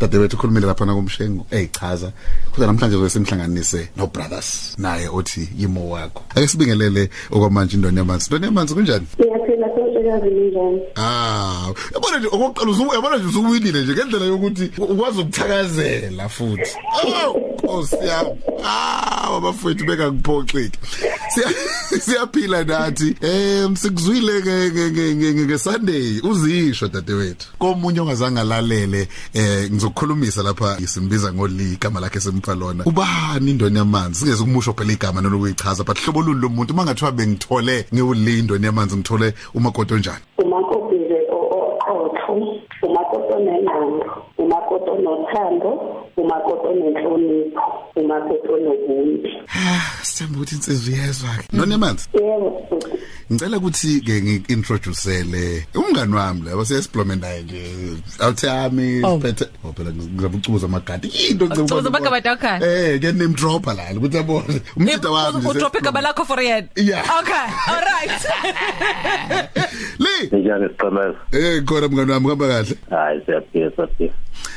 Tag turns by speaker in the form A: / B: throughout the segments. A: dadewethu ukhulumile lapha nakumshengo eyichaza kodwa namhlanje zosimhlanganise no brothers naye othi yimo wakho ake sibingelele okwamanje indoni yamanzi indoni yamanzi kunjani
B: Ngiyaphila sonke njani?
A: ah yabona nje okokuqala uzu- yabona nje usuwinile nje ngendlela yokuthi u- ukwazi ukuthakazela futhi aw osiyami aw abafowethu bekangiphoxike Siya- siyaphila nathi em sikuzwile ke- ke- ke- ke- ke- ngesunday uzisho dadewethu komunye ongazange alalele eh ngizokukhulumisa lapha simbiza ngoli igama lakhe simpha lona ubani indoni yamanzi singeze ukumusho phela igama nolokuyichaza but hlobo luni lomuntu uma ngathiwa bengithole ngiwulindoni yamanzi ngithole umagodo onjani
B: Umakotile oqotho, umakoto nenqando, umakoto nothando, umakoto nenhlonipho, umakoto nobuntu.
A: Ah, sembe ukuthi insizwe iyezwa ke nonemanzi
B: Yebo. sisi.
A: ngicela ukuthi ke ngiintroducele umngani wami la wasesiplome naye nje awuthi ami
C: Oh.
A: siphethe oh phela ngizama ukucuza amagadi into
C: Ukucuza amagadi, okay.
A: eh ke name dropper la ukuthi abone umthetho wami nje
C: udrophe igama lakho for yena
A: Yeah.
C: okay all right
A: li
D: Njani siqhemeza?
A: eh khona mngani wami ngihamba kahle
D: Hayi siyaphila siyaphila.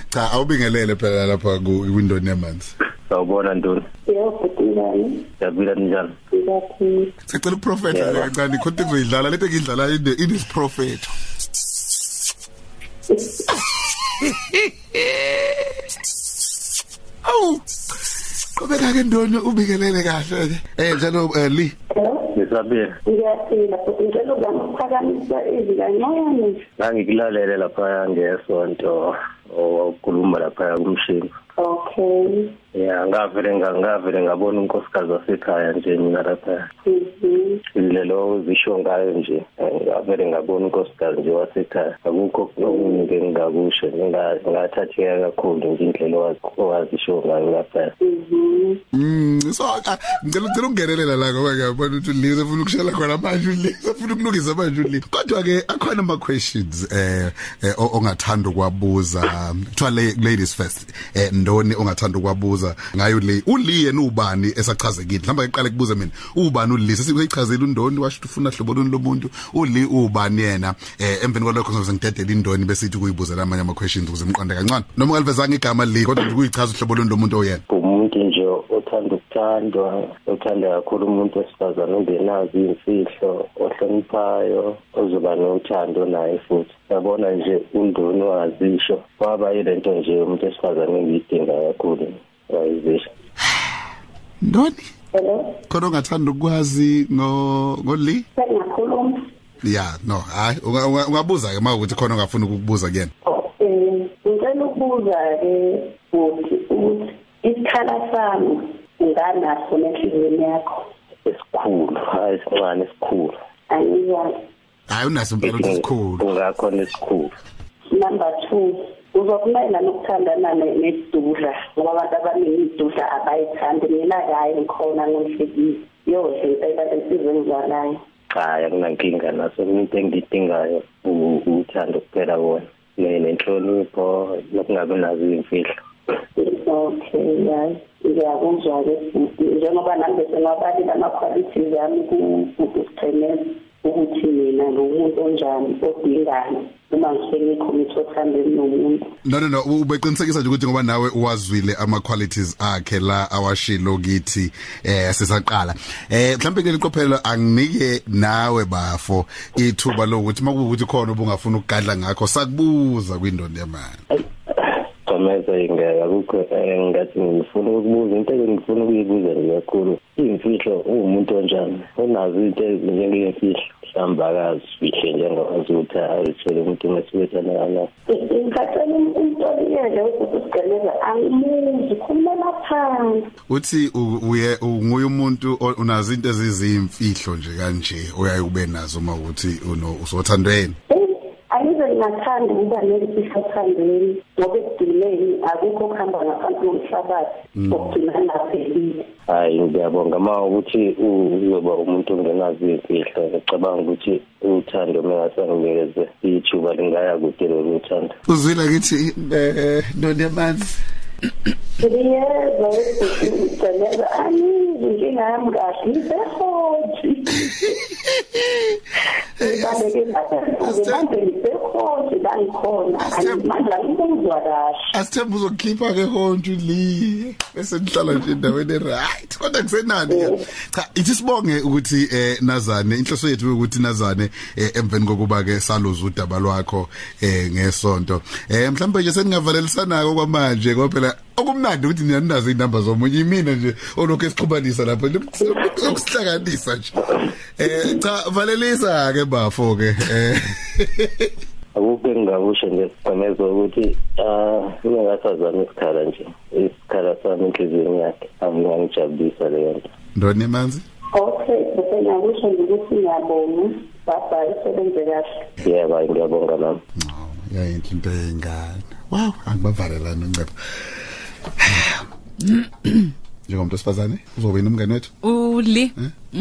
A: cha awubingelele phela lapha ku window nemanzi
D: Sawubona Ntuli.
B: Yebo kutinani?
D: Siyaphila njani?
B: Ngiyaphila.
A: sicela uprofeta nje
D: Yeah.
A: kancane khona ngizoyidlala lethe ngidlala ine inisprofeta Awu. Qhubeka ke ndonyo ubikelele kahle ke. Eh njalo eh, Lee
B: Yebo.
D: Ngisaphila.
B: Ngiyaphila. futhi Ngicela ukungiphakamisa izikanqane.
D: Ngangikulalele lapha ngesonto owakhuluma lapha kumshini.
B: Okay.
D: Ya ngavele nga- ngavele ngabona unkosikazi wasekhaya nje mina lapha.
B: Mhm.
D: Lelo uzisho ngayo nje. Eh, Ngavele ngabona unkosikazi nje wasekhaya. Akukho okuningi engingakusho nginga- ngathatheka kakhulu nje indlela owa- owazisho ngayo lapha.
B: Mhm.
A: Mm so ah, ngicela ngicela ukungenelela la ngoba ngiyabona ukuthi Lee ufuna ukushela khona manje Lee ufuna ukulungisa manje Lee. Kodwa ke akhona ama questions eh eh, o- ongathanda ukwabuza kuthiwa le- ladies first eh ndoni ongathanda ukwabuza ngayo Lee. uLee yena ubani esachazekile mhlawumbe ngiqale kubuza mina ubani uLee sesichazile undoni washo ufuna hlobolweni lomuntu uLee ubani yena eh emveni kwalokho ngizobe ngidedela indoni bese ithi kuyibuza lamanye ama questions ukuze ngiqonde kancane noma ngalivezanga igama Lee kodwa nje kuyichaza hlobolweni lomuntu oyena
D: umuntu nje othanda ukuthandwa othanda kakhulu umuntu wesifazane ongenazo iy'mfihlo ohloniphayo ozoba nothando naye futhi yabona nje undoni wazisho kwaba yile nto nje umuntu wesifazane engiyidinga kakhulu wayizisho
A: ndoni
B: Hello.
A: khona ongathanda ukwazi ngo ngoli
B: Sengakhuluma.
A: ya no hayi unga- unga- ungabuza ke mawukuthi khona ongafuna ukukubuza kuyena
B: Eh, ngicela ukubuza ke futhi ukuthi isikhala sami nganaso nenhlizweni yakho
D: esikhulu hhayi esincane esikhulu
B: angiyazi
A: hayi unaso impela ukuthi sikhulu
D: kungakhona esikhulu
B: number two uzokumayelana ukuthandana ne- nesidudla ngoba abantu abaningi idudla abayithandi mina kaye ngikhona ngonhlekile yodle impela lensizwe engizalayo
D: hayi akunankinga naso mina into engiyidingayo u- uthando kuphela wona Ne- nenhlonipho nokungabi nazo iy'mfihlo
B: okay hayi ngiyakuzwa-ke futhi njengoba nami besengabalile ama-qualities ami kufuthi siqhemeza ukuthi mina ngumuntu onjani odingani uma ngisengikhomithi othandeni nomuntu
A: no no no ubeqinisekisa nje ukuthi ngoba nawe uwazwile ama qualities akhe la awashilo kithi eh sisaqala eh mhlambe ke liqophela anginike nawe bafo ithuba lokuthi makuwukuthi khona ubungafuna ukugadla ngakho sakubuza kwindondo yemali
D: Gomeza ingeke akukho engathi ngifuna ukubuza into engifuna ukuyibuza nje kakhulu iy'mfihlo uwumuntu onjani unazo into ezinjengey'mfihlo mhlawumbe akazifihle njengawazuthi azithele umuntu mesibethana kana
B: ngicela um-, umtoliyele ukuthi usigqemeza angimuzi khulumela phansi
A: uthi u- uye unguye umuntu o- unazo into ezizimfihlo nje kanje oyaye ube nazo uma ukuthi uno- usothandweni
B: Eh, angize ngingathandi ukuba nemfihlo othandweni ngoba ekugcineni akukho okuhamba ngaphansi komhlabathi okugcina ngaphelile
D: hhayi ngiyabonga ma ukuthi u- uzoba umuntu ongenazo iy'mfihlo ngicabanga ukuthi uthando mengasanginikeze ithuba lingaya kude lolu thando
A: uzwile ngithi eh nonyamanzi
B: ngiyezwa ukuthi uceleza angizi ngingami kahle ngisehoji ngibaleke ngibambe ngisehoji la ngikhona
A: Asithembe.
B: manje angibuzwa kahle
A: asithemba uzokhipha ke hontu li bese nihlala nje endaweni right kodwa kusenani ke cha ithi sibonge ukuthi eh Nazane inhloso yethu ukuthi Nazane eh, emveni kokuba ke saloza udaba lwakho eh ngesonto eh mhlawumbe nje seningavalelisana ko kwamanje kophela okumnandi ukuthi ninazo inamba zomunye imina nje olokho esixhubanisa lapha lokusihlanganisa nje eh cha valelisa ke bafo ke eh
D: akukho engingakusho nje sigqemezo ukuthi um unengasazami isikhala nje isikhala sami enhliziyweni yakhe angingangijabulisa leyo nto
A: ndone manzi
B: okay bese ngiyakusho nje ukuthi ngiyabonga baba isebenze kahle
D: yebo hayi ngiyabonga nami
A: Oh, yayinhle into yengane. Wow, angibavalelana uncepa. Njengomuntu osifazane uzobe nomngane wethu?
C: Uli.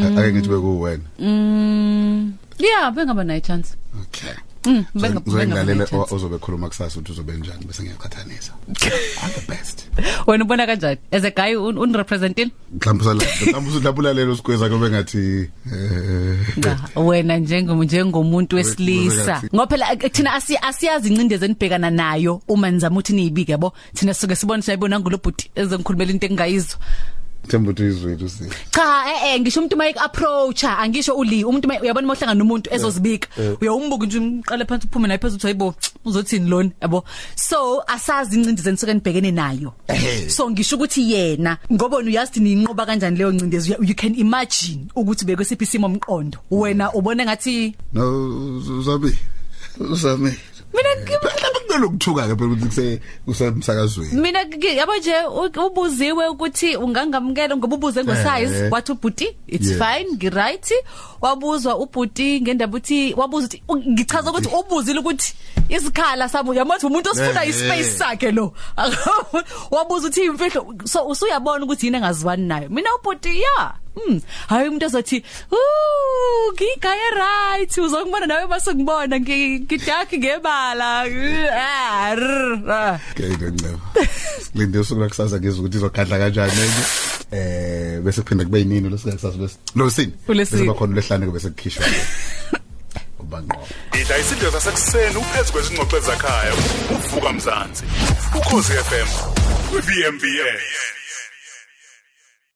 A: eh? Ake ngithi bekuwena.
C: Mm. Yeah, bengaba nayo chance.
A: Okay.
C: Mm, benga- bengaba nayo
A: Ngilalela
C: chance.
A: ozobe khuluma kusasa ukuthi uzobe njani bese ngiyaqhathanisa. I'm the best.
C: Wena ubona kanjani? As a guy un unrepresentile?
A: Mhlawumbe sala mhlawumbe usulabulalelo sigweza kube ngathi eh
C: Cha, wena njengomu njengomuntu wesilisa.
A: Wekuzwekazi.
C: Ngoba phela eh, thina asi asiyazi incindezelo enibhekana nayo uma nizama ukuthi niyibike yabo. Thina suke sibona sayibona ngolobhuti ezongikhulumela into engayizwa.
A: Themba uthi izwile usi.
C: cha eh eh ngisho umuntu maye approacha angisho uli umuntu uma- uyabona mohlanga nomuntu ezozibika
A: eh.
C: uyawumbuka nje umqale phansi uphume naye phezulu uthi hayibo uzothini lona yabo so asazi incindezelo enisuke nibhekene nayo
A: Ehhe.
C: so ngisho ukuthi yena ngoba wena uyazi ninqoba kanjani leyo ncindezelo you can imagine ukuthi bekwesiphi isimo omqondo wena ubone ngathi
A: No uzabe uzame.
C: mina ngi-
A: Mhlawumbe kunelokuthuka ke phela ukuthi kuse kusemsakazweni.
C: mina ke- yabo nje u- ubuziwe ukuthi ungangamukela ngoba ubuze ngosize
A: Eh.
C: wathi ubhuti it's
A: Yeah.
C: fine ngiright wabuzwa ubhuti ngendaba uthi wabuza uthi u- ngichaza ukuthi ubuzile ukuthi isikhala sami uyamathi umuntu osifuna
A: Eh,
C: ispace
A: eh.
C: sakhe lo wabuza uthi imfihlo so usuyabona ukuthi yini engaziwani nayo mina ubhuti ya Mm hayi umuntu azothi ooh ngigaya right uzongibona nawe base ngibona ngidark ngebala ah rrr.
A: Okay ngiyanceba. Silinde usuku lakusasa ngizwe ukuthi izogadla kanjani enye. Eh bese kuphinda kube yinini lesikusasa bese. Lo sini.
C: Ulwesine.
A: Bese bakhona lehlane ke bese kukhishwa. Ubangqo.
E: Idla isidlo sasekuseni uphezu kwezingxoxo ezakhaya. Uvuka mzansi. Ukhosi FM. Ku-BMBS.